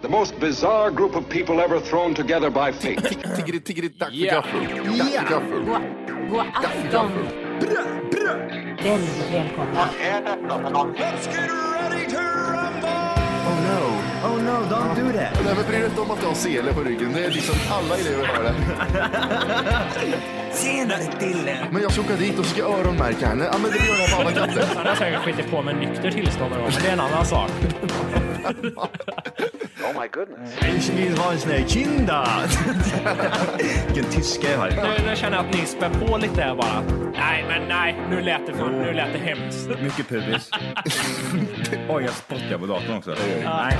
The most bizarre group of people ever thrown together by fate. Tiggeri, tiggeri, dack för Ja. gaffel. Dack för gaffel. God afton! Väldigt välkomna. Oh no. Oh no, don't do that. Nej men bry dig inte om att du har sele på ryggen. Det är liksom alla elever har det. Senare Dille. Men jag ska åka dit och ska öronmärka henne. Ja men det gör jag på alla katter. Han har säkert skitit på med nykter tillstånd någon gång, men det är en annan sak. Ich vill ha en sån här kinda. Vilken tyska jag har. Nu, nu känner jag att ni spär på lite här bara. Nej, men nej. Nu lät det, för, nu lät det hemskt. Mycket pubis. Oj, jag spottar på datorn också. Nej.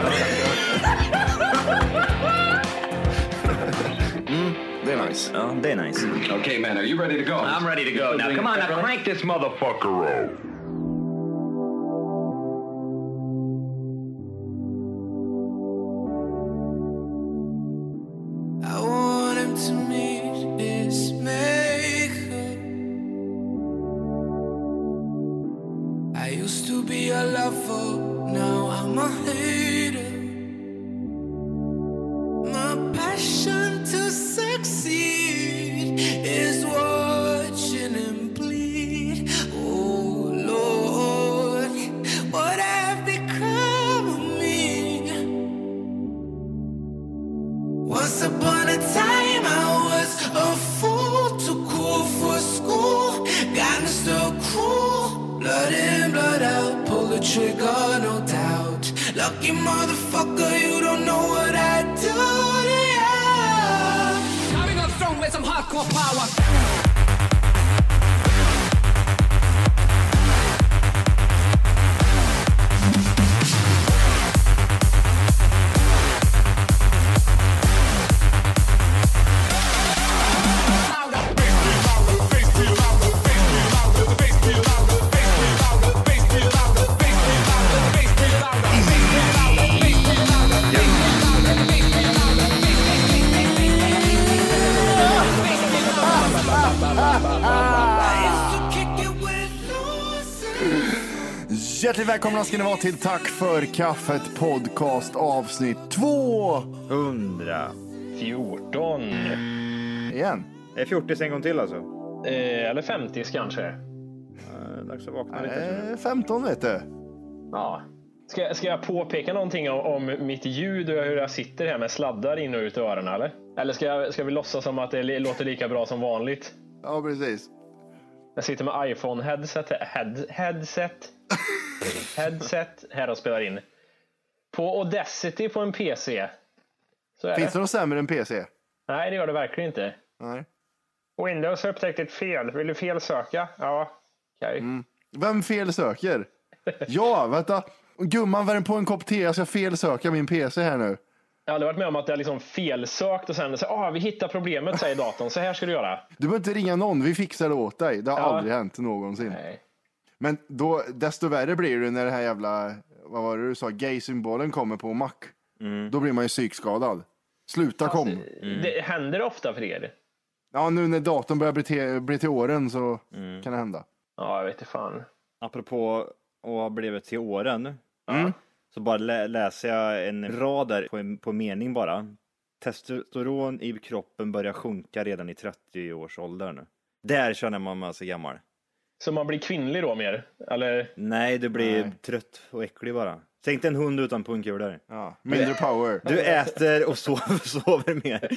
Det är nice. Ja, det är nice. okay, man, are you ready to go? I'm ready to go now. Come on, now crank this motherfucker up. I want him to meet his maker. I used to be a lover, now I'm a hater. My passion to succeed is watching him bleed. Oh Lord, what have become of me? Once upon a time, I was a fool, too cool for school. Got me so cruel, blood in, blood out. Pull the trigger, no doubt. Lucky motherfucker, you don't know what I do to ya. Coming up strong with some hardcore power. I used to kick it with losers. Hjärtligt välkomna ska ni vara till Tack för kaffet podcast avsnitt två. 14. Igen. Det är 40 en gång till alltså. Eh, eller 50 kanske. Eh, Dags att vakna lite. känner jag. Eh, 15 vet du. Ja. Ska, ska jag påpeka någonting om, om mitt ljud och hur jag sitter här med sladdar in och ut i öronen eller? Eller ska, jag, ska vi låtsas som att det li- låter lika bra som vanligt? Ja precis. Jag sitter med iPhone headset. Head, headset. Headset. Här och spelar in. På Audacity på en PC. Så är Finns det. det något sämre än PC? Nej, det gör det verkligen inte. Nej. Windows har upptäckt ett fel. Vill du felsöka? Ja. Okej. Vem fel söker? Ja, vänta. Gumman, värm på en kopp te. Jag ska felsöka min PC här nu. Jag har aldrig varit med om att jag liksom felsökt och sen så, ah, vi hittar problemet, säger datorn. Så här ska du göra. Du behöver inte ringa någon. Vi fixar det åt dig. Det har Ja. aldrig hänt någonsin. Nej. Men då, desto värre blir det när det här jävla, vad var det du sa, gay-symbolen kommer på Mac. Då blir man ju psykskadad. Sluta kom. Mm. Det händer ofta för er? Ja, nu när datorn börjar bli till, bli till åren så Mm. kan det hända. Ja, jag vet inte fan. Apropå att ha blivit till åren. Mm. Så bara lä- läser jag en rad där på, en, på mening bara. Testosteron i kroppen börjar sjunka redan i 30-årsåldern. Där känner man man sig gammal. Så man blir kvinnlig då mer? Eller? Nej, du blir Nej. trött och äcklig bara. Tänk dig en hund utan pungkulor. Ja, mindre power. Du äter och sover, sover mer.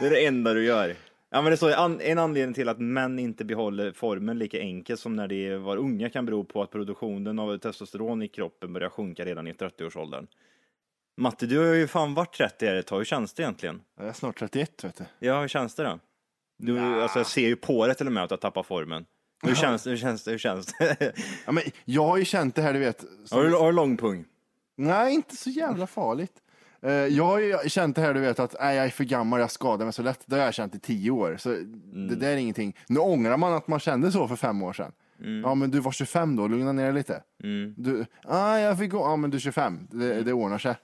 Det är det enda du gör. Ja, men det är så, an- en anledning till att män inte behåller formen lika enkelt som när de var unga kan bero på att produktionen av testosteron i kroppen börjar sjunka redan i 30-årsåldern. Matte, du har ju fan varit 30 här ett tag. Hur känns det egentligen? Jag är snart 31 vet du. Ja, hur känns det då? Du, alltså, jag ser ju på dig till och med att du har tappat formen. Hur känns det? Hur känns det? Hur känns det? Ja, men jag har ju känt det här du vet. som- har, du, har du lång pung? Nej, inte så jävla farligt. Eh, Jag har ju känt det här du vet att nej, jag är för gammal, jag skadar mig så lätt. Det har jag känt i tio år. Så det där är ingenting. Nu ångrar man att man kände så för fem år sedan. Ja men du var 25 då, lugna ner dig lite. Du, ah, jag fick, ja men du är 25, det, det ordnar sig.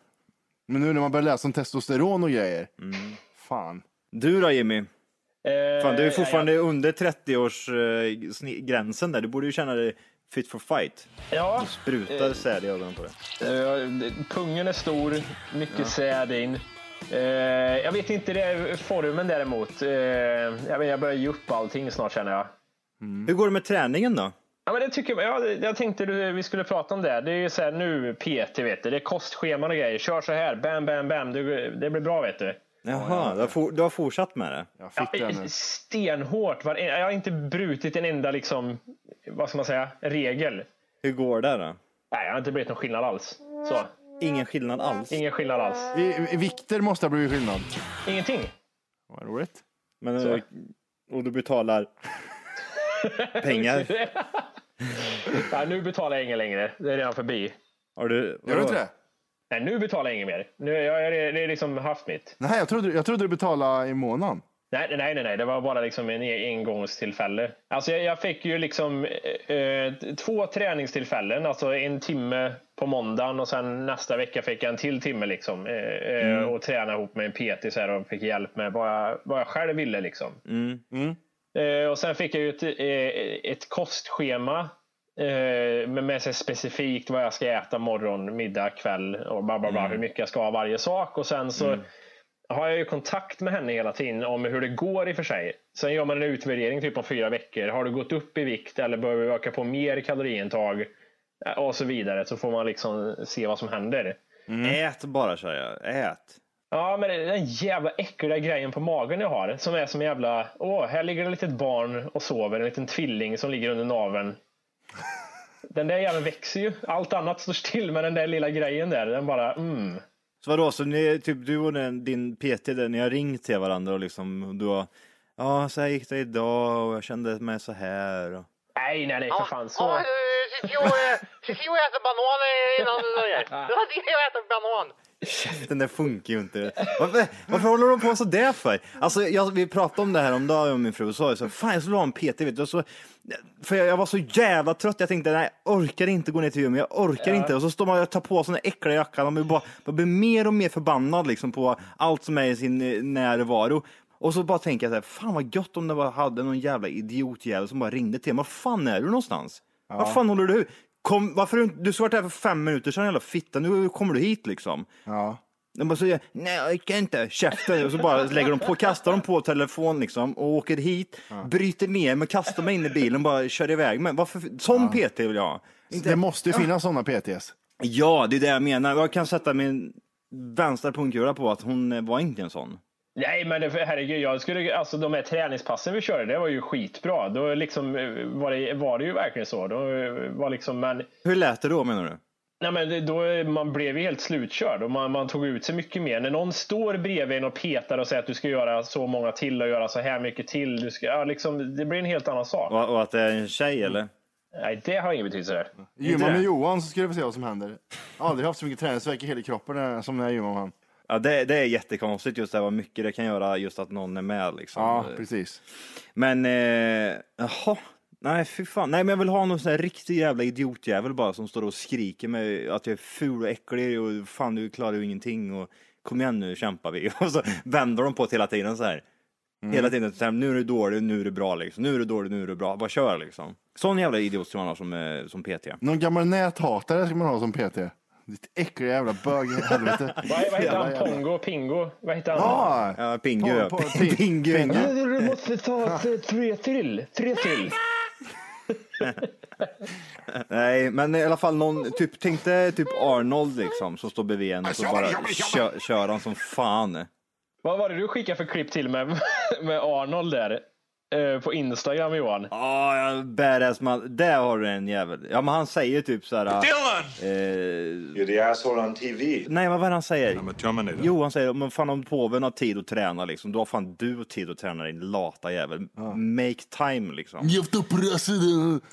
Men nu när man börjar läsa om testosteron och grejer. Fan. Du då Jimmy? Eh, Fan, du är nej, eh, fortfarande under 30-årsgränsen där. Du borde ju känna dig Fit for fight. Ja, Sprutar säd i ögonen på det. eh, pungen är stor, mycket säd in. Eh, jag vet inte det är formen däremot. Eh, jag, men jag börjar ge upp allting snart känner jag. Hur går det med träningen då? Ja, men det tycker jag, ja, det- jag tänkte du- vi skulle prata om det. Det är ju så här nu PT vet du. Det är kostscheman och grejer. Kör så här. Bam, bam, bam. Det, det blir bra vet du. Jaha, du har, for, du har fortsatt med det? Jag fick Ja, den nu. stenhårt. Var, jag har inte brutit en enda liksom, vad ska man säga, regel. Hur går det då? Nej, jag har inte blivit någon skillnad alls. Så, Ingen skillnad alls. ingen skillnad alls. I, i vikter måste ha blivit skillnad. Ingenting. Vad roligt. Men, eh, och du betalar pengar? Nej, nu betalar jag ingen längre. Det är redan förbi. Har du, Gör du inte det? Nej, nu betalar jag ingen mer. Nu, jag, jag, det är liksom haft mitt. Nej, jag trodde, jag trodde du betalade i månaden. Nej, nej, nej, nej. det var bara liksom en engångstillfälle. Alltså jag, jag fick ju liksom eh, eh, två träningstillfällen, alltså en timme på måndagen och sen nästa vecka fick jag en till timme liksom, eh, eh, och träna ihop med en PT så här, och fick hjälp med vad jag, vad jag själv ville. Liksom. Eh, och sen fick jag ju ett, eh, ett kostschema eh, med, med sig specifikt vad jag ska äta morgon, middag, kväll och bla, bla, bla, hur mycket jag ska ha varje sak. Och sen så har jag ju kontakt med henne hela tiden om hur det går i och för sig. Sen gör man en utvärdering typ om fyra veckor. Har du gått upp i vikt eller behöver du öka på mer kaloriintag? Eh, Och så vidare. Så får man liksom se vad som händer. Mm. Ät bara säger jag, ät. Ja, men den jävla äckliga grejen på magen jag har som är som en jävla... Åh, här ligger ett litet barn och sover. En liten tvilling som ligger under naveln. Den där jäveln växer ju. Allt annat står still, men den där lilla grejen där, den bara... Mm. Så vadå, så ni, typ du och den, din PT, där, ni har ringt till varandra och liksom och du har, ja så här gick det idag och jag kände mig så här. Och... Nej, nej, nej, för fan. Så... eh, Ciccio äter bananer innan du börjar. Det var det jag äter banan. Den där funkar ju inte. Varför, varför håller de på så där för? Alltså, jag, vi pratade om det här om dagen jag och min fru och sa ju så, fan jag skulle ha en PT vet du. Och Så, för jag, jag var så jävla trött. Jag tänkte nej, jag orkar inte gå ner till gymmet. Jag orkar inte. Och så står man och tar på sig den där äckliga jackan och man bara, man blir mer och mer förbannad liksom, på allt som är i sin eh, närvaro. Och så bara tänker jag så här, fan vad gött om det bara hade någon jävla idiotjävel som bara ringde till mig. Var fan är du någonstans? Var fan håller du? Kom, varför har du, inte- du skulle varit här för fem minuter sedan jävla fitta. Nu kommer du hit liksom. Ja. De bara säger nej jag orkar inte, käften. Och så bara lägger de på, kastar de på telefon liksom och åker hit, bryter ner mig, kastar mig in i bilen och bara kör iväg mig. Varför? Som PT vill jag ha. Det måste ju finnas sådana PTs. Ja, det är det jag menar. Jag kan sätta min vänstra pungkula på att hon var inte en sån. Nej, men det, herregud. Jag skulle, alltså, de här träningspassen vi körde, det var ju skitbra. Då liksom, eh, var, det, var det ju verkligen så. Då eh, var liksom, men, Hur lät det då menar du? nej, men det- då, eh, man blev ju helt slutkörd och man, man tog ut sig mycket mer. När någon står bredvid en och petar och säger att du ska göra så många till och göra så här mycket till. Du ska, ja, liksom, det blir en helt annan sak. Och, och att det är en tjej Mm. eller? Nej, det har ingen betydelse. Där. Gymmar det? med Johan så ska du få se vad som händer. Jag har aldrig haft så mycket träningsvärk i hela kroppen eh, som när jag gymmar med honom. Ja, det, det är jättekonstigt just det här vad mycket det kan göra just att någon är med liksom. Ja, precis. Men, eh, jaha. Nej, fy fan. Nej, men jag vill ha någon sån här riktig jävla idiotjävel bara som står och skriker med att jag är ful och äcklig och fan du klarar ju ingenting och kom igen nu kämpar vi. Och så vänder de på det hela tiden så här. Mm. Hela tiden så här, nu är du dålig, nu är du bra liksom. Nu är du dålig, nu är du bra. Bara kör liksom. Sån jävla idiot som man har som, eh, som PT. Någon gammal näthatare ska man ha som PT. Ditt äckliga jävla bög i helvete. Vad, vad heter Jävla han? jävla- Pongo? Pingo? Vad heter han? Ja, Ja, Pingu. På- ja. på- ping- Pingu. pingu. Du måste ta tre till. Tre till. Nej, men i alla fall någon, typ, tänk dig typ Arnold liksom som står bredvid en och Alltså, så bara kör, kör han som fan. Vad var det du skickade för klipp till med, med Arnold där? Eh, På Instagram Johan. Ja, oh, badass man. Där har du en jävel. Ja, men han säger typ så här... Dylan! Eh, You're the asshole on TV. nej, vad var det han säger? Jo, han säger men fan om påven har tid att träna liksom, då har fan du tid att träna din lata jävel. Make time liksom. Jävla president.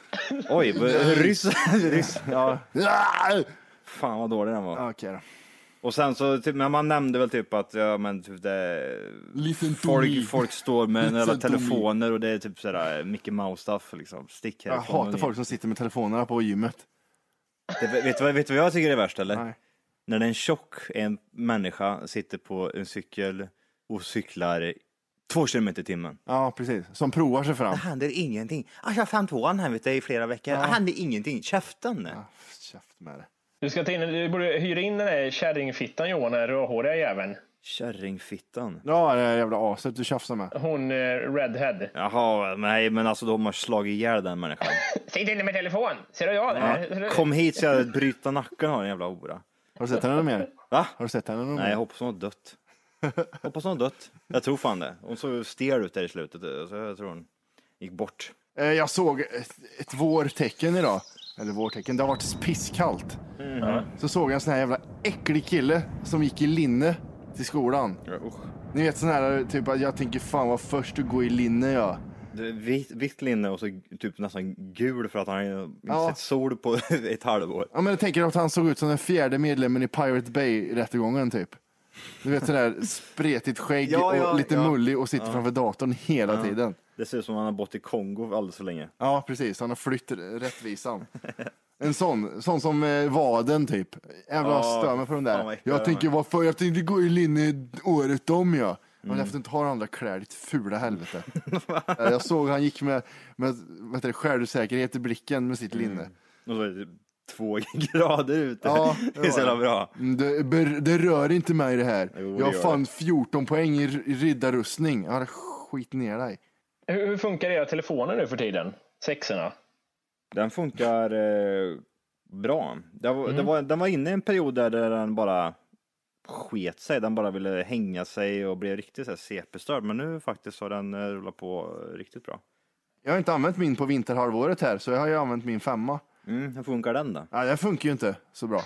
Oj, vad- ryss. ryss. Ja, Ah! fan vad dålig den var. Okej då. Och sen så, typ, men man nämnde väl typ att, ja men typ det... Listen to me. Folk, folk står med Listen alla to me. telefoner och det är typ sådär Mickey Mouse-stuff liksom. Stick Jag härifrån. hatar folk som sitter med telefonerna på gymmet. Det, vet, du vad, vet du vad jag tycker är värst eller? Nej. När en tjock en människa sitter på en cykel och cyklar Två kilometer i timmen. Ja, precis. Som provar sig fram. Det händer ingenting. Ah, jag har fan tvåan här vet du, i flera veckor. Det händer ingenting. Käften! Ah, Käft med det. Du, ska ta in, du borde hyra in den där kärringfittan Johan, den rödhåriga jäveln. Kärringfittan. Ja, det här jävla aset du tjafsar med. Hon eh, redhead. Jaha, nej men alltså de har slagit ihjäl den människan. Säg inte med telefon! Ser du jag det Ja. Kom hit så jag bryter nacken av den jävla hora. Har du sett henne någon mer? Va? Har du sett henne någon Nej, jag mer? hoppas hon har dött. Hoppas hon har dött. Jag tror fan det. Hon såg stel ut där i slutet. Så jag tror hon gick bort. Eh, Jag såg ett, ett vårtecken idag. Eller vårtecken, det har varit pisskallt. Så såg jag en sån här jävla äcklig kille som gick i linne till skolan. Ja, usch. Ni vet sån här, typ att jag tänker fan vad först du går i linne jag. Det är Vitt, vitt linne och så typ nästan gul för att han har inte Ja. sett sol på ett halvår. Ja men jag tänker att han såg ut som den fjärde medlemmen i Pirate Bay-rättegången typ. Du vet sån där spretigt skägg Ja, ja, och lite ja. mullig och sitter framför datorn hela tiden. Det ser ut som att han har bott i Kongo alldeles för länge. Ja precis, han har flytt rättvisan. En sån, sån som eh, vaden typ. Jävlar vad Ja, jag stör mig på de fan vad där. äckliga de Jag är. tänker vad för, jag tänkte gå i linne året om jag. Mm. Men efter inte har andra kläder, ditt fula helvete. Eh, jag såg han gick med, med vad heter det, självsäkerhet i blicken med sitt Mm. linne. Och så är det typ två grader ute. Ja, det det är så var jävla det. bra. Mm, Det, ber, det rör inte mig det här. Jo, det jag gör fann 14 poäng i r- i riddarrustning. Ja, det skit ner dig. Hur, hur funkar era telefoner nu för tiden? Sexorna? Den funkar eh, bra. Det var, Mm. det var, den var inne i en period där den bara sket sig. Den bara ville hänga sig och blev riktigt så här CP-störd. Men nu faktiskt har den eh, rullat på riktigt bra. Jag har inte använt min på vinterhalvåret här, så jag har ju använt min femma. Mm, hur funkar den då? Ja, den funkar ju inte så bra.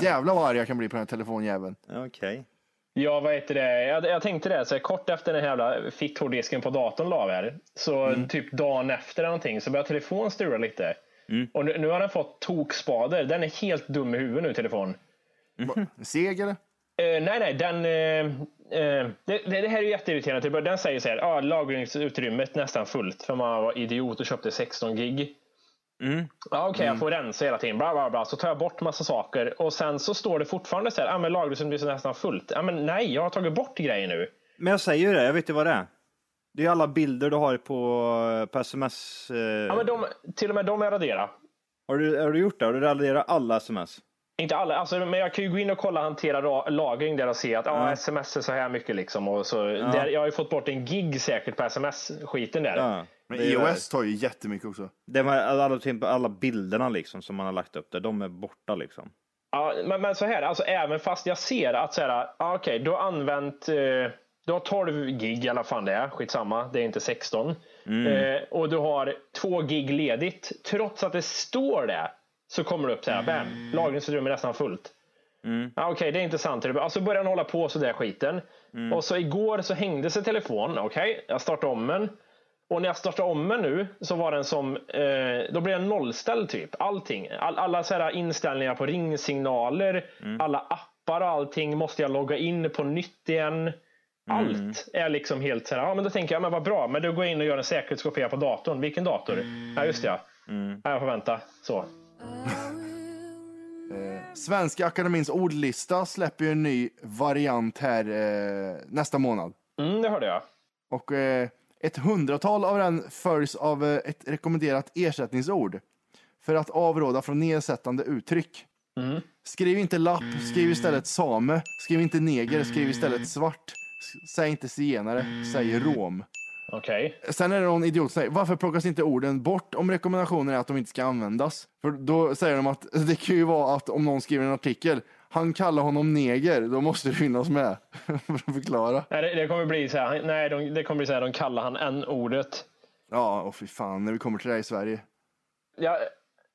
Jävlar vad arg jag kan bli på den här telefonjäveln. Okej. Ja, vad heter det? Jag, jag tänkte det, så här, kort efter den här jävla fitthårddisken på datorn la vi här, så Mm. typ dagen efter eller någonting, så började telefonen strula lite. Mm. Och nu, nu har den fått tokspader. Den är helt dum i huvudet nu, telefonen. Seg eller? Eh, nej, nej, den... eh, eh, det, det det här är ju jätteirriterande. Typ, Den säger så här, ah, lagringsutrymmet nästan fullt för man var idiot och köpte 16 gig. Ja, Okej, jag får rensa hela tiden. Bla, bla, bla. Så tar jag bort massa saker och sen så står det fortfarande så här, ah, men lagringsutrymmet är nästan fullt. Ah, men nej, jag har tagit bort grejer nu. Men jag säger ju det, jag vet ju vad det är. Det är alla bilder du har på, på sms. Eh, Ja, men de, till och med de jag raderar. har, du, har du gjort det? Har du raderat alla sms? Inte alla, alltså, men jag kan ju gå in och kolla hantera ra- lagring där och se att ah, sms är så här mycket. Liksom, och så, där, jag har ju fått bort en gig säkert på sms-skiten där. Ja. Men Det är ju- iOS tar ju jättemycket också. Det var alla, alla- alla bilderna liksom som man har lagt upp där, de är borta liksom. Ja, men, men så här, alltså, även fast jag ser att så här, ah, okej, du har använt eh, du har 12 gig i alla fall det är, skitsamma, det är inte 16. Eh, och du har 2 gig ledigt. Trots att det står det så kommer det upp så här, bam, lagringsutrymme är nästan fullt. Ah, okej, det är inte sant. Alltså börjar han hålla på så där skiten. Och så igår så hängde sig telefonen. Okej, jag startade om den. Och när jag startade om den nu så var den som, eh, då blev den nollställd typ. Allting. All, alla så här inställningar på ringsignaler, alla appar och allting måste jag logga in på nytt igen. Allt är liksom helt så här, ja men då tänker jag, men vad bra, men då går jag in och gör en säkerhetskopia på datorn. Vilken dator? Ja just det, ja. ja. Jag får vänta. Så. Svenska Akademins ordlista släpper ju en ny variant här eh, nästa månad. Mm, det hörde jag. Och eh, ett hundratal av den följs av eh, ett rekommenderat ersättningsord för att avråda från nedsättande uttryck. Skriv inte lapp, skriv istället same. Skriv inte neger, skriv istället svart. S- Säg inte zigenare, säg rom. Okej. Sen är det någon idiot som säger, varför plockas inte orden bort om rekommendationen är att de inte ska användas? För då säger de att det kan ju vara att om någon skriver en artikel, han kallar honom neger, då måste det finnas med. För att förklara. Nej, det, det kommer bli så här, nej, de, det kommer bli så här, de kallar han n-ordet. Ja, och fy fan, när vi kommer till det här i Sverige. jag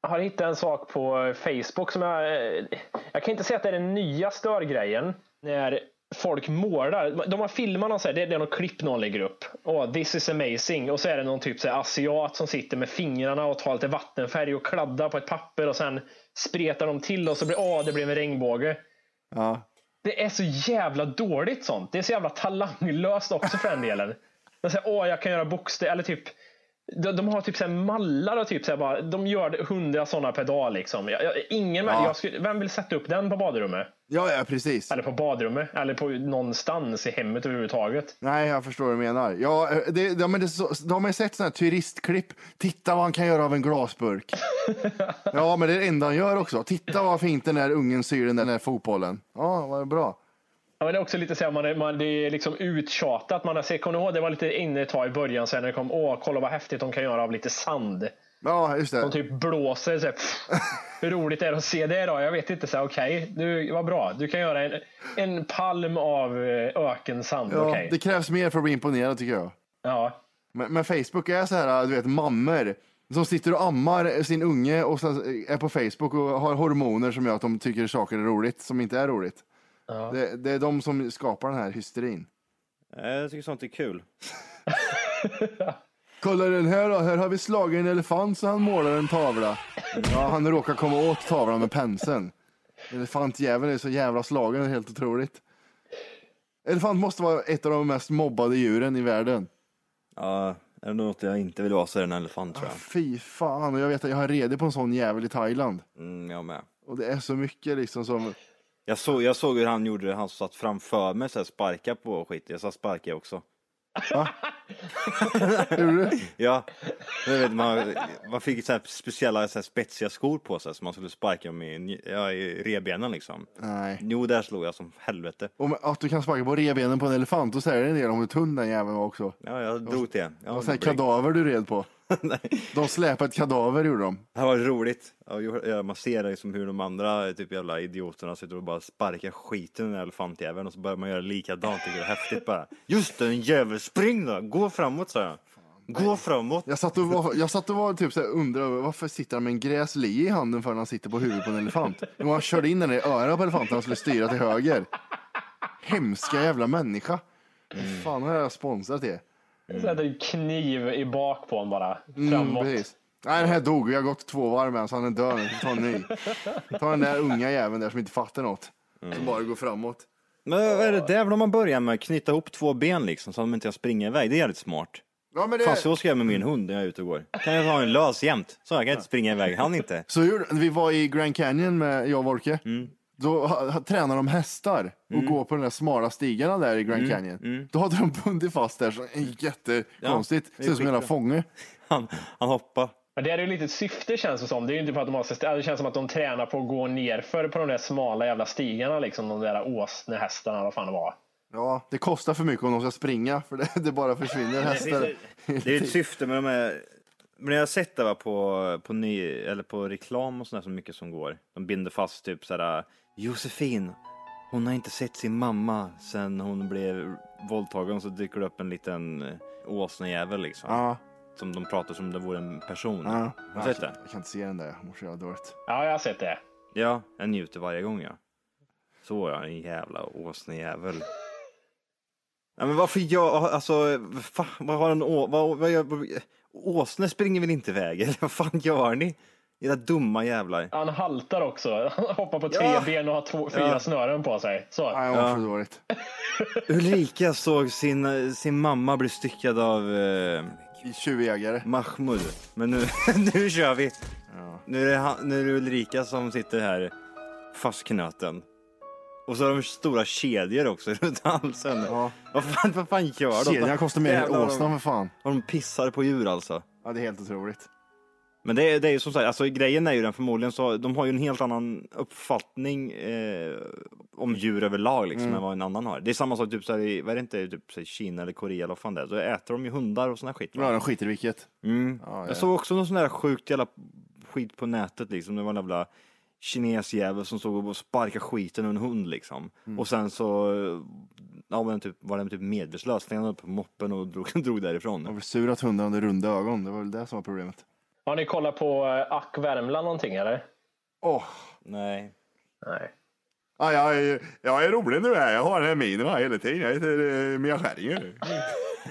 har hittat en sak på Facebook som jag... eh, Jag kan inte säga att det är den nya störgrejen. När folk målar. De har filmat någon så här, det är något klipp någon lägger upp. Åh, this is amazing. Och så är det någon typ så här asiat som sitter med fingrarna och tar lite vattenfärg och kladdar på ett papper och sen spretar de till och så blir åh, det blev en regnbåge. Ja. Det är så jävla dåligt sånt. Det är så jävla talanglöst också för den delen. Men så här, åh, jag kan göra bokstäver. Eller typ, de, de har typ så här mallar och typ så här bara, de gör hundra sådana per dag. Liksom. Jag, jag, ingen, Ja. jag skulle, vem vill sätta upp den på badrummet? Ja, ja, precis. Eller på badrummet? Eller på någonstans i hemmet överhuvudtaget? Nej, jag förstår vad du menar. Ja, eh, det, ja, men det, är så- de har ju sett sådana här turistklipp. Titta vad han kan göra av en glasburk. ja, men det är det enda han gör också. Titta vad fint den där ungen syr den där fotbollen. Ja, vad bra. Ja, men det är också lite så här, man är, man, det är liksom uttjatat. Man har sett, kommer du ihåg, det var lite inne ett tag i början sen när det kom, åh, kolla vad häftigt de kan göra av lite sand. Ja, just De det. typ blåser. Så här, pff, hur roligt är det att se det då? Jag vet inte. så här, Okej, okay, vad bra. Du kan göra en, en palm av eh, ökensand. Ja, okej. Det krävs mer för att bli imponerad tycker jag. Ja. Men, men Facebook är så här, du vet, mammor som sitter och ammar sin unge och sen är på Facebook och har hormoner som gör att de tycker saker är roligt som inte är roligt. Det, det är de som skapar den här hysterin. Eh, Jag tycker sånt är kul. Kolla den här då, här har vi slagit en elefant så han målar en tavla. Ja, han råkar komma åt tavlan med penseln. Elefantjäveln är så jävla slagen, det är helt otroligt. Elefant måste vara ett av de mest mobbade djuren i världen. Ja, är det något jag inte vill vara så är det en elefant tror jag. Fy fan, och jag vet att jag har redig på en sån jävel i Thailand. Mm, jag med. Och det är så mycket liksom som... Jag såg, jag såg hur han gjorde det, han satt framför mig så här, sparka på och skit. Jag sa sparka jag också. Gjorde du? Ja, jag vet, man, man fick så här speciella så här spetsiga skor på sig som man skulle sparka med i, nj- ja, i rebenen liksom. Nej. Jo, där slog jag som helvete. Och med, att du kan sparka på revbenen på en elefant, då säger det en del om hur tunn den jäveln var också. Ja, jag drog till en. Ja, Och sen det blev- kadaver du red på. Nej. De släpade ett kadaver gjorde de. Det här var roligt. Ja, jo, ja, Man ser liksom hur de andra typ jävla idioterna sitter och bara sparkar skiten i den här elefantjäveln och så börjar man göra likadant. Tycker det är häftigt bara. Just det, en jävel, spring då! Gå framåt sa jag. Gå framåt! Jag satt och var, jag satt och var typ så här, undrade över varför sitter han med en gräsli i handen för när han sitter på huvudet på en elefant? Jo, han körde in den i örat på elefanten han skulle styra till höger. Hemska jävla människa. Vad fan har jag sponsrat det? Sätter en kniv i bak på honom bara. Mm, Framåt. precis. Nej, den här dog. Jag har gått två varv med den, så han är död. Jag ska ta en ny. Ta den där unga jäveln där som inte fattar något. Mm. Som bara går framåt. Men vad är det där vill man börjar med? Knyta ihop två ben liksom så att de inte kan springa iväg. Det är jävligt smart. Ja, men det... Fan så ska jag med min hund när jag är ute och går. Kan jag ha en lös jämt? Så jag kan inte springa iväg, han inte. Så gjorde, vi var i Grand Canyon med jag och Volke. Mm. Då ha, ha, tränade de hästar och går på de där smala stigarna där i Grand Mm. Canyon. Då hade de bundit fast där, så jättekonstigt. det är Ser ut som en jävla skitbra. fånge. Han, han hoppar. Men det är ju lite ett syfte känns det som. Det är ju inte för att de har system. Det känns som att de tränar på att gå nerför på de där smala jävla stigarna. Liksom, de där åsnehästarna, vad fan det var. Ja, det kostar för mycket om de ska springa för det, det bara försvinner hästar. Det är ett syfte med de här. Men jag har sett det va, på, på, ny, eller på reklam och sådär så mycket som går. De binder fast typ sådär Josefin, hon har inte sett sin mamma sen hon blev våldtagen så dyker det upp en liten eh, åsnejävel liksom. Ja, Som de pratar som om det vore en person. ja. Har du sett det? Jag kan inte se den där, jag mår så jävla dåligt. Ja, jag har sett det. Ja, jag njuter varje gång ja. Så ja, en jävla åsnejävel. Ja, men varför jag, alltså, vad fan, vad har en å, vad, vad gör, vad, åsne springer väl inte iväg? Eller vad fan gör ni? Era dumma jävlar. Han haltar också. Han hoppar på tre Ja. ben och har två, fyra Ja. snören på sig. Så. Nej, jag mår så dåligt. Ulrika såg sin, sin mamma bli styckad av eh, Tjuvjägare. Mahmud. Men nu, nu kör vi. Nu, är det, han- nu är det Ulrika som sitter här fastknuten. Och så har de stora kedjor också runt halsen. Ja. Vad, fan, vad fan gör de? Kedjan kostar mer än Jävlar, de- åsnan för fan. Och de pissar på djur alltså. Ja, det är helt otroligt. Men det är, det är ju som sagt, alltså, grejen är ju den förmodligen så, de har ju en helt annan uppfattning eh, om djur överlag liksom, Mm. än vad en annan har. Det är samma sak typ så här, i, vad är det inte, typ så här, Kina eller Korea eller vad fan det är, så äter de ju hundar och sån här skit. Ja, Va? de skiter i vilket. Mm. Ja, ja. Jag såg också någon sån där sjukt jävla skit på nätet liksom, det var en jävla kinesjävel som stod och sparkade skiten ur en hund liksom. Mm. Och sen så, ja men typ, var den typ medvetslös, stannade upp på moppen och drog, drog därifrån. De har surat hundarna under runda ögon. Det var väl det som var problemet. Har ni kollat på eh, Ack Värmland någonting eller? Åh, Nej. Nej. Ja, jag, är, jag är rolig nu. Här. Jag har den här minen här hela tiden. Jag heter eh, Mia Skäringer.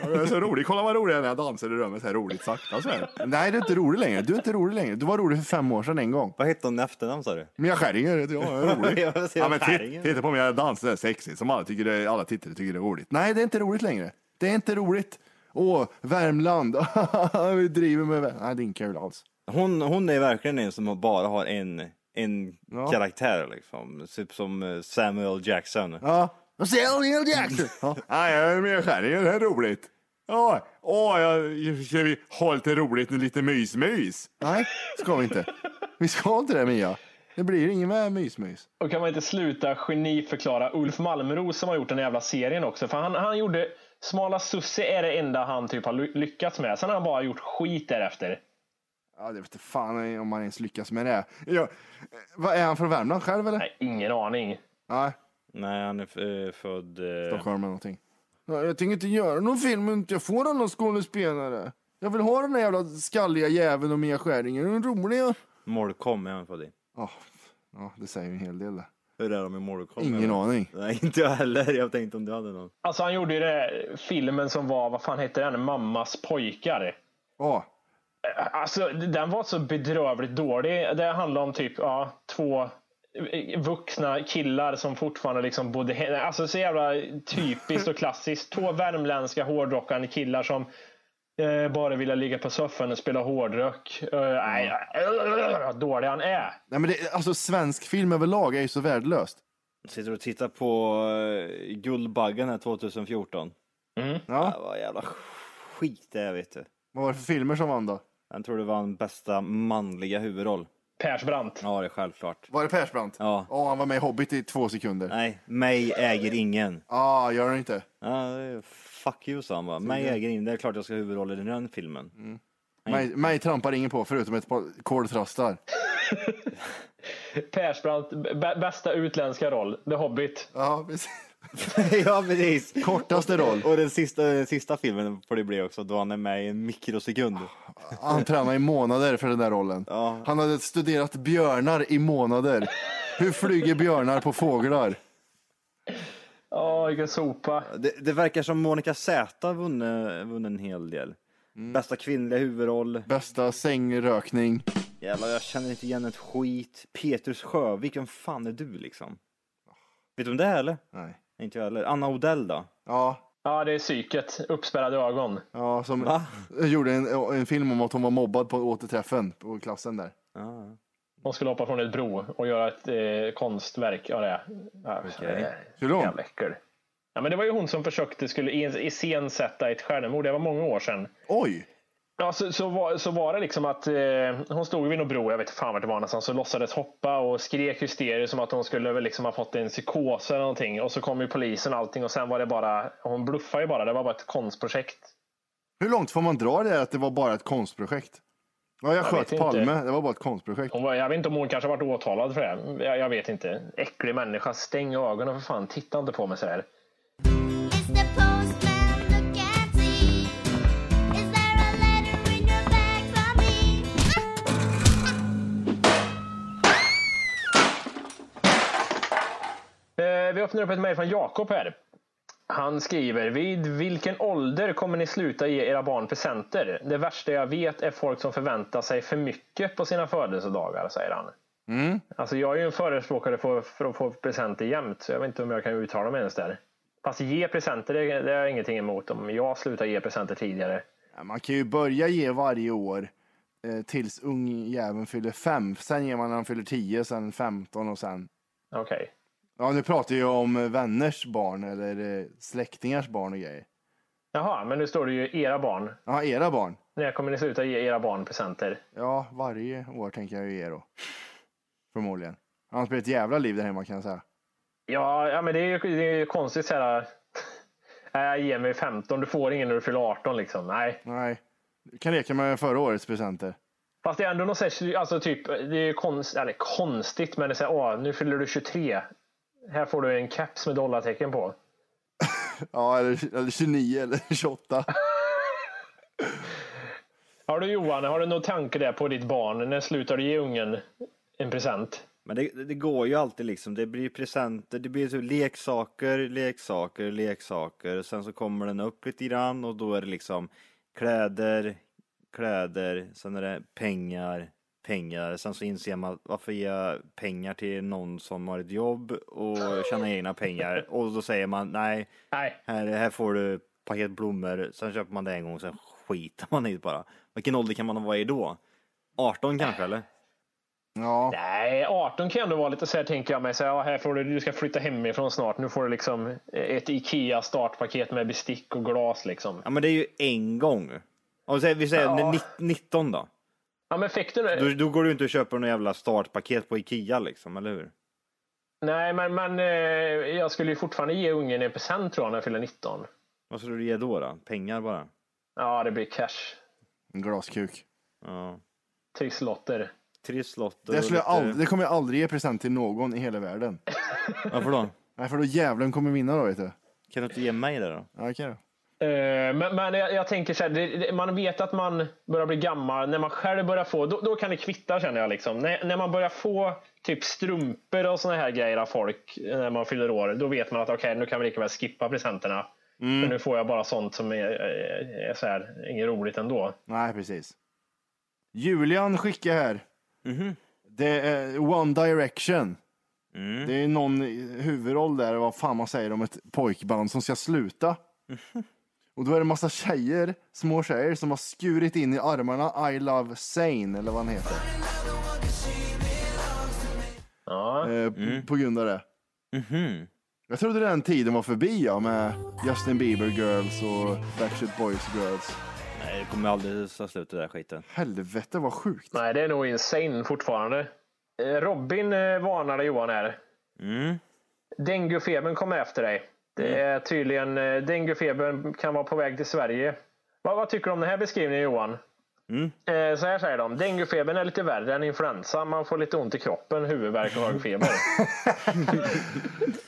Jag är så rolig. Kolla vad rolig jag är när jag dansar i rummet. Så här roligt sakta. Så här. Nej, du är inte rolig längre. Du är inte rolig längre. Du var rolig för fem år sedan en gång. Vad hette hon i efternamn sa du? Mia Skäringer heter jag. Jag är rolig. Jag ser ja, men Skäringer. titt, titta på mig. Jag dansar. Det är sexigt. Som alla, tycker det, alla tittare tycker det är roligt. Nej, det är inte roligt längre. Det är inte roligt. Åh, Värmland. Vi driver med Värmland. Nej, det är inte kul alls. Hon, hon är verkligen en som bara har en, en Ja. karaktär liksom. Typ som eh, Samuel Jackson. Ja. Och så är Neil Jackson. Ja. Nej, jag är med i skärningen. Det här är roligt. Ja, åh, jag ska vi ha lite roligt nu, lite mysmys. Nej, ska vi inte. Vi ska inte det, Mia. Det blir ingen med mysmys. Och kan man inte sluta geniförklara Ulf Malmros som har gjort den jävla serien också. För han, han gjorde Smala Sussi är det enda han typ har ly- lyckats med. Sen har han bara gjort skit därefter. Ja, det vet fan om man ens lyckas med det. Ja. eh, Vad är han från Värmland själv eller? Nej, ingen aning. Nej, Nej, han är f- eh, född... eh, Stockholm eller någonting. Ja, Jag tänker inte göra någon film om inte jag får någon skådespelare. Jag vill ha den där jävla skalliga jäveln och Mia Skäringer. Den roliga. Molkom är han född i. Ja, ja, det säger ju en hel del. det. Hur är de i Molkom? Ingen aning. Nej, inte jag heller. Jag tänkte om du hade någon. Alltså han gjorde ju den där filmen som var, vad fan hette den? Mammas pojkar. Ja, Alltså den var så bedrövligt dålig. Det handlar om typ ja, två vuxna killar som fortfarande liksom bodde he- Alltså så jävla typiskt och klassiskt. Två värmländska hårdrockande killar som eh, bara ville ligga på soffan och spela hårdrock. Eh, nej, vad dålig han är. Nej, men det, alltså svensk film överlag är ju så värdelöst. Sitter och tittar på eh, Guldbaggen här 2014. Ja. Det var jävla skit det här, vet du. Vad var det för filmer som vann då? Han tror det vann bästa manliga huvudroll. Persbrandt. Ja, det är självklart. Var det Persbrandt? Ja. Ja, han var med i Hobbit i två sekunder. Ja, Nej, mig äger ingen. ah, gör han inte. Ja, det är fuck you, sa han bara. Mig äger ingen. Det är klart jag ska ha huvudrollen i den filmen. Mig, mig trampar ingen på förutom ett par koltrastar. Persbrandt, b- bästa utländska roll. The Hobbit. Ja, precis. ja, precis. Kortaste roll. Och den sista, den sista filmen får det bli också, då han är med i en mikrosekund. Han tränade i månader för den där rollen. Ja. Han hade studerat björnar i månader. Hur flyger björnar på fåglar? Åh, vilken sopa. Ah, Det, det verkar som Monica Z vunnit, vunnit en hel del. Bästa kvinnliga huvudroll. Bästa sängrökning. Jävlar, jag känner inte igen ett skit. Petrus Sjövik, vem fan är du liksom? Vet du om det är, eller? Nej. Inte jag heller. Anna Odell då? Ja, Ja, det är psyket. Uppspärrade ögon. ja som Va? gjorde en, en film om att hon var mobbad på återträffen på klassen där. Ja. Hon skulle hoppa från ett bro och göra ett eh, konstverk av det. Ja, Okej. Skulle hon? Jävla äckel. Ja, men det var ju hon som försökte skulle is- iscensätta ett självmord. Det var många år sedan. Oj! Ja, så, så, var, så var det liksom att eh, hon stod vid någon bro, jag vet inte fan vart det var någonstans, så låtsades hoppa och skrek hysteriskt som att hon skulle väl liksom ha fått en psykos eller någonting. Och så kom ju polisen och allting och sen var det bara, hon bluffade ju bara. Det var bara ett konstprojekt. Hur långt får man dra det här att det var bara ett konstprojekt? Ja, jag, vet sköt inte. Palme. Det var bara ett konstprojekt. Hon var, jag vet inte om hon kanske varit åtalad för det. Jag, jag vet inte. Äcklig människa, stäng ögonen för fan. Titta inte på mig så här. It's the postman, look and see. Is there a letter in your bag for me? Eh, Vi öppnar upp ett mejl från Jakob här. Han skriver, vid vilken ålder kommer ni sluta ge era barn presenter? Det värsta jag vet är folk som förväntar sig för mycket på sina födelsedagar, säger han. Alltså jag är ju en förespråkare för, för att få presenter jämt, så jag vet inte om jag kan uttala mig ens där. Fast ge presenter, det, det har jag ingenting emot om jag slutar ge presenter tidigare. Ja, Man kan ju börja ge varje år eh, tills ungjäveln fyller fem. Sen ger man när han fyller tio, sen 15 och sen... Okej. Ja, nu pratar jag om eh, vänners barn eller eh, släktingars barn och grejer. Jaha, men nu står det ju era barn. Ja, era barn. När kommer ni sluta ge era barn presenter? Ja, varje år tänker jag ju ge då. Förmodligen. Annars blir det ett jävla liv där hemma kan jag säga. Ja, ja men det är ju, det är ju konstigt så här. Nej, jag ger mig 15. Du får ingen när du fyller 18 liksom. Nej. Nej, du kan leka med förra årets presenter. Fast det är ändå något så här, alltså typ, det är ju konst, eller konstigt, men det är så här, åh, nu fyller du 23. Här får du en keps med dollartecken på. Ja, eller, eller 29 eller 28. Har du Johan, har du någon tanke där på ditt barn? När slutar du ge ungen en present? Men det, det går ju alltid liksom. Det blir presenter, det blir typ leksaker, leksaker, leksaker. Sen så kommer den upp lite grann och då är det liksom kläder, kläder, sen är det pengar, pengar. Sen så inser man varför ger jag pengar till någon som har ett jobb och tjänar egna pengar? Och då säger man nej, Nej, här, här får du paket blommor, sen köper man det en gång, sen skiter man i det bara. Vilken ålder kan man vara i då? 18 kanske eller? Ja, Nej, 18 kan ju ändå vara lite så här tänker jag mig. Så här, ja, här får du, du ska flytta hemifrån snart. Nu får du liksom ett Ikea startpaket med bestick och glas liksom. Ja men det är ju en gång. Om vi säger, vi säger Ja. nitt- 19 då. Ja, men fick du det? då. Då går du inte och köper något jävla startpaket på Ikea liksom, eller hur? Nej, men, men eh, jag skulle ju fortfarande ge ungen en present tror jag när jag fyller 19. Vad skulle du ge då? då? Pengar bara? Ja, det blir cash. en glaskuk. Ja. Trisslotter. Trisslotter Det, och skulle jag lite- aldrig, det kommer jag aldrig ge present till någon i hela världen. Varför då? Nej, för då djävulen kommer vinna då, vet du. Kan du inte ge mig det då? Ja, okej då. Eh, Men, men jag, jag tänker så här, det, det, man vet att man börjar bli gammal. När man själv börjar få, då, då kan det kvitta känner jag. Liksom. När, när man börjar få typ strumpor och såna här grejer av folk eh, när man fyller år. Då vet man att okej, nu kan vi lika väl skippa presenterna. För nu får jag bara sånt som är, eh, är, är så här, inget roligt ändå. Nej, precis. Julian skickar här. Det är eh, One Direction. Det är någon i huvudroll där, vad fan man säger om ett pojkband som ska sluta. Och då är det en massa tjejer, små tjejer, som har skurit in i armarna I Love Sane, eller vad han heter. Ja. Eh, p- På grund av det. Jag trodde den tiden var förbi ja, med Justin Bieber Girls och Backstreet Boys Girls. Nej, det kommer aldrig ta slut det där skiten. Helvete vad sjukt. Nej, det är nog insane fortfarande. Eh, Robin eh, varnade Johan här. Mm. Denguefebern kommer efter dig. Det är tydligen eh, denguefebern kan vara på väg till Sverige. Vad, vad tycker du om den här beskrivningen Johan? Mm. Eh, så här säger de. Denguefebern är lite värre än influensa. Man får lite ont i kroppen, huvudvärk och hög feber.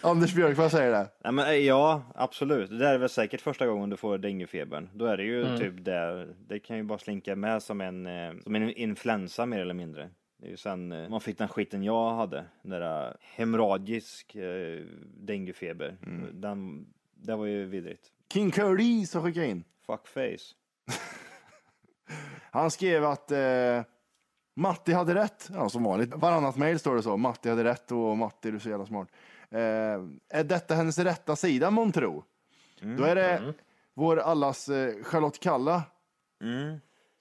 Anders Björk, vad säger det? Nej, men, eh, ja, absolut. Det där är väl säkert första gången du får denguefebern. Då är det ju typ det. Det kan ju bara slinka med som en, eh, som en influensa mer eller mindre. Det är ju sen eh, man fick den skiten jag hade. Den där eh, hemorragisk eh, denguefeber. Den, det var ju vidrigt. King Curry som skickade in. Fuckface. Han skrev att eh, Matti hade rätt. Ja, som vanligt. Varannat mejl står det så. Matti hade rätt och Matti, du är så jävla smart. Eh, är detta hennes rätta sida månntro? Då är det vår allas eh, Charlotte Kalla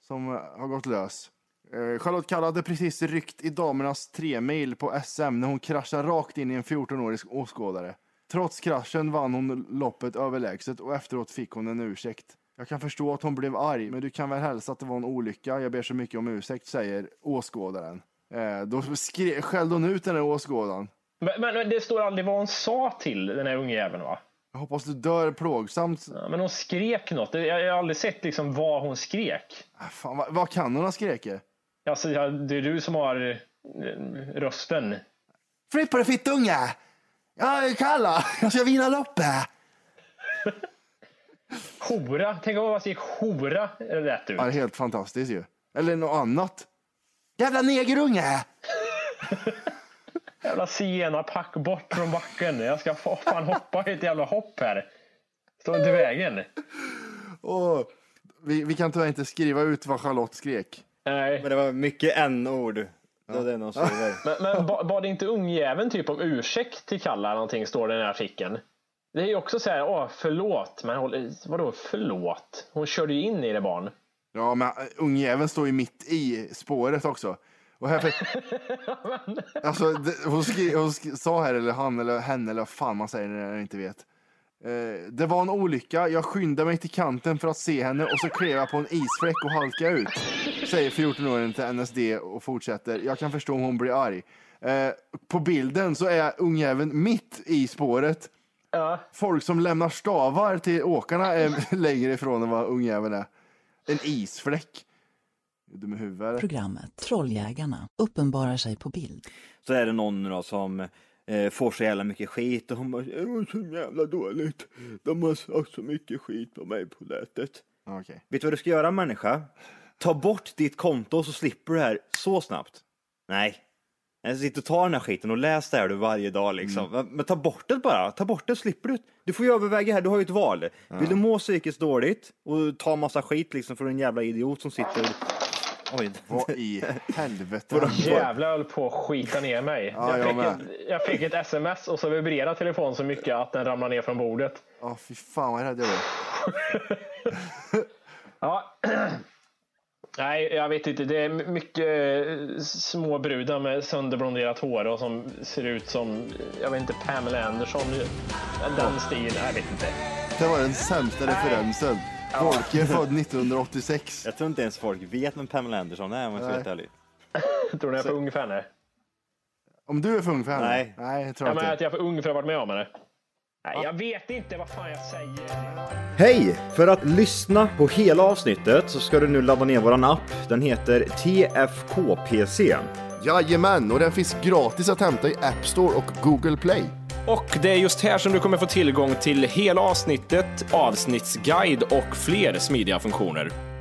som eh, har gått lös. Eh, Charlotte Kalla hade precis ryckt i damernas tre mil på SM när hon kraschade rakt in i en 14-årig åskådare. Trots kraschen vann hon loppet överlägset och efteråt fick hon en ursäkt. Jag kan förstå att hon blev arg, men du kan väl hälsa att det var en olycka. Jag ber så mycket om ursäkt, säger åskådaren. Eh, då skre- skällde hon ut den där åskådaren. men, men, men det står aldrig vad hon sa till den här unge jäveln va? Jag hoppas du dör plågsamt. Ja, Men hon skrek något. Jag, jag har aldrig sett liksom vad hon skrek. Ah, Fan, vad, vad kan hon ha skreket? Alltså, ja, det är du som har eh, rösten. Flytt på dig fittunge! Jag är Kalla, jag ska vinna loppet! Hora. Tänk om hon bara skrek hora rätt ut. Ja, det är helt fantastiskt ju. Eller något annat. Jävla negerunge! Jävla sena pack bort från backen. Jag ska fa- fan hoppa i ett jävla hopp här. Står inte i vägen. Och, vi, vi kan tyvärr inte skriva ut vad Charlotte skrek. Nej. Men det var mycket n-ord. Det var det någon skriver. Men, men ba- bad inte ungjäveln typ om ursäkt till Kalla någonting står det i den här artikeln. Det är ju också så här, åh förlåt. Men håll, vadå förlåt? Hon körde ju in i det barn. Ja, men eh, ungjäveln står ju mitt i spåret också. Och här, alltså, det, hon, skri, hon skri, sa här, eller han eller henne, eller vad fan man säger när jag inte vet. Eh, det var en olycka, jag skyndade mig till kanten för att se henne och så klev jag på en isfläck och halkade ut. Säger 14-åringen till NSD och fortsätter, jag kan förstå om hon blir arg. Eh, på bilden så är ungjäveln mitt i spåret. Ja. Folk som lämnar stavar till åkarna är längre ifrån än vad ungjäveln är. En isfläck. Är du med huvudet? eller? Programmet Trolljägarna uppenbarar sig på bild. så är det någon då som eh, får så jävla mycket skit och hon bara det var så jävla dåligt. De har sagt så mycket skit på mig på nätet. Ja, Okej. Vet du vad du ska göra människa? Ta bort ditt konto så slipper du det här så snabbt. Nej. Jag sitter och tar den här skiten och läs det här du varje dag liksom. Men- Men ta bort det bara. Ta bort det så slipper du. Du får ju överväga här, du har ju ett val. Vill du må psykiskt dåligt och ta massa skit liksom från en jävla idiot som sitter Oj. Vad i helvete? Jävlar höll på att skita ner mig. Ja, jag, jag fick med. ett, jag fick ett sms och så vibrerade telefonen så mycket att den ramlade ner från bordet. Ja, fy fan vad rädd jag blev. ja. Nej, jag vet inte. Det är mycket eh, små brudar med sönderblonderat hår och som ser ut som, jag vet inte, Pamela Anderson. Den stilen, jag vet inte. Det var den sämsta referensen. Folke är född 1986. Jag tror inte ens folk vet vem Pamela Anderson är om jag ska vara Nej. helt ärlig. Tror ni jag är för ung för henne? Om du är för ung för henne? Nej. Nej, jag tror Ja, men inte. att jag är för ung för att ha varit med om henne? Nej, jag vet inte vad fan jag säger. Hej! För att lyssna på hela avsnittet så ska du nu ladda ner våran app. Den heter TFKPC. Jajamän, och den finns gratis att hämta i App Store och Google Play. Och det är just här som du kommer få tillgång till hela avsnittet, avsnittsguide och fler smidiga funktioner.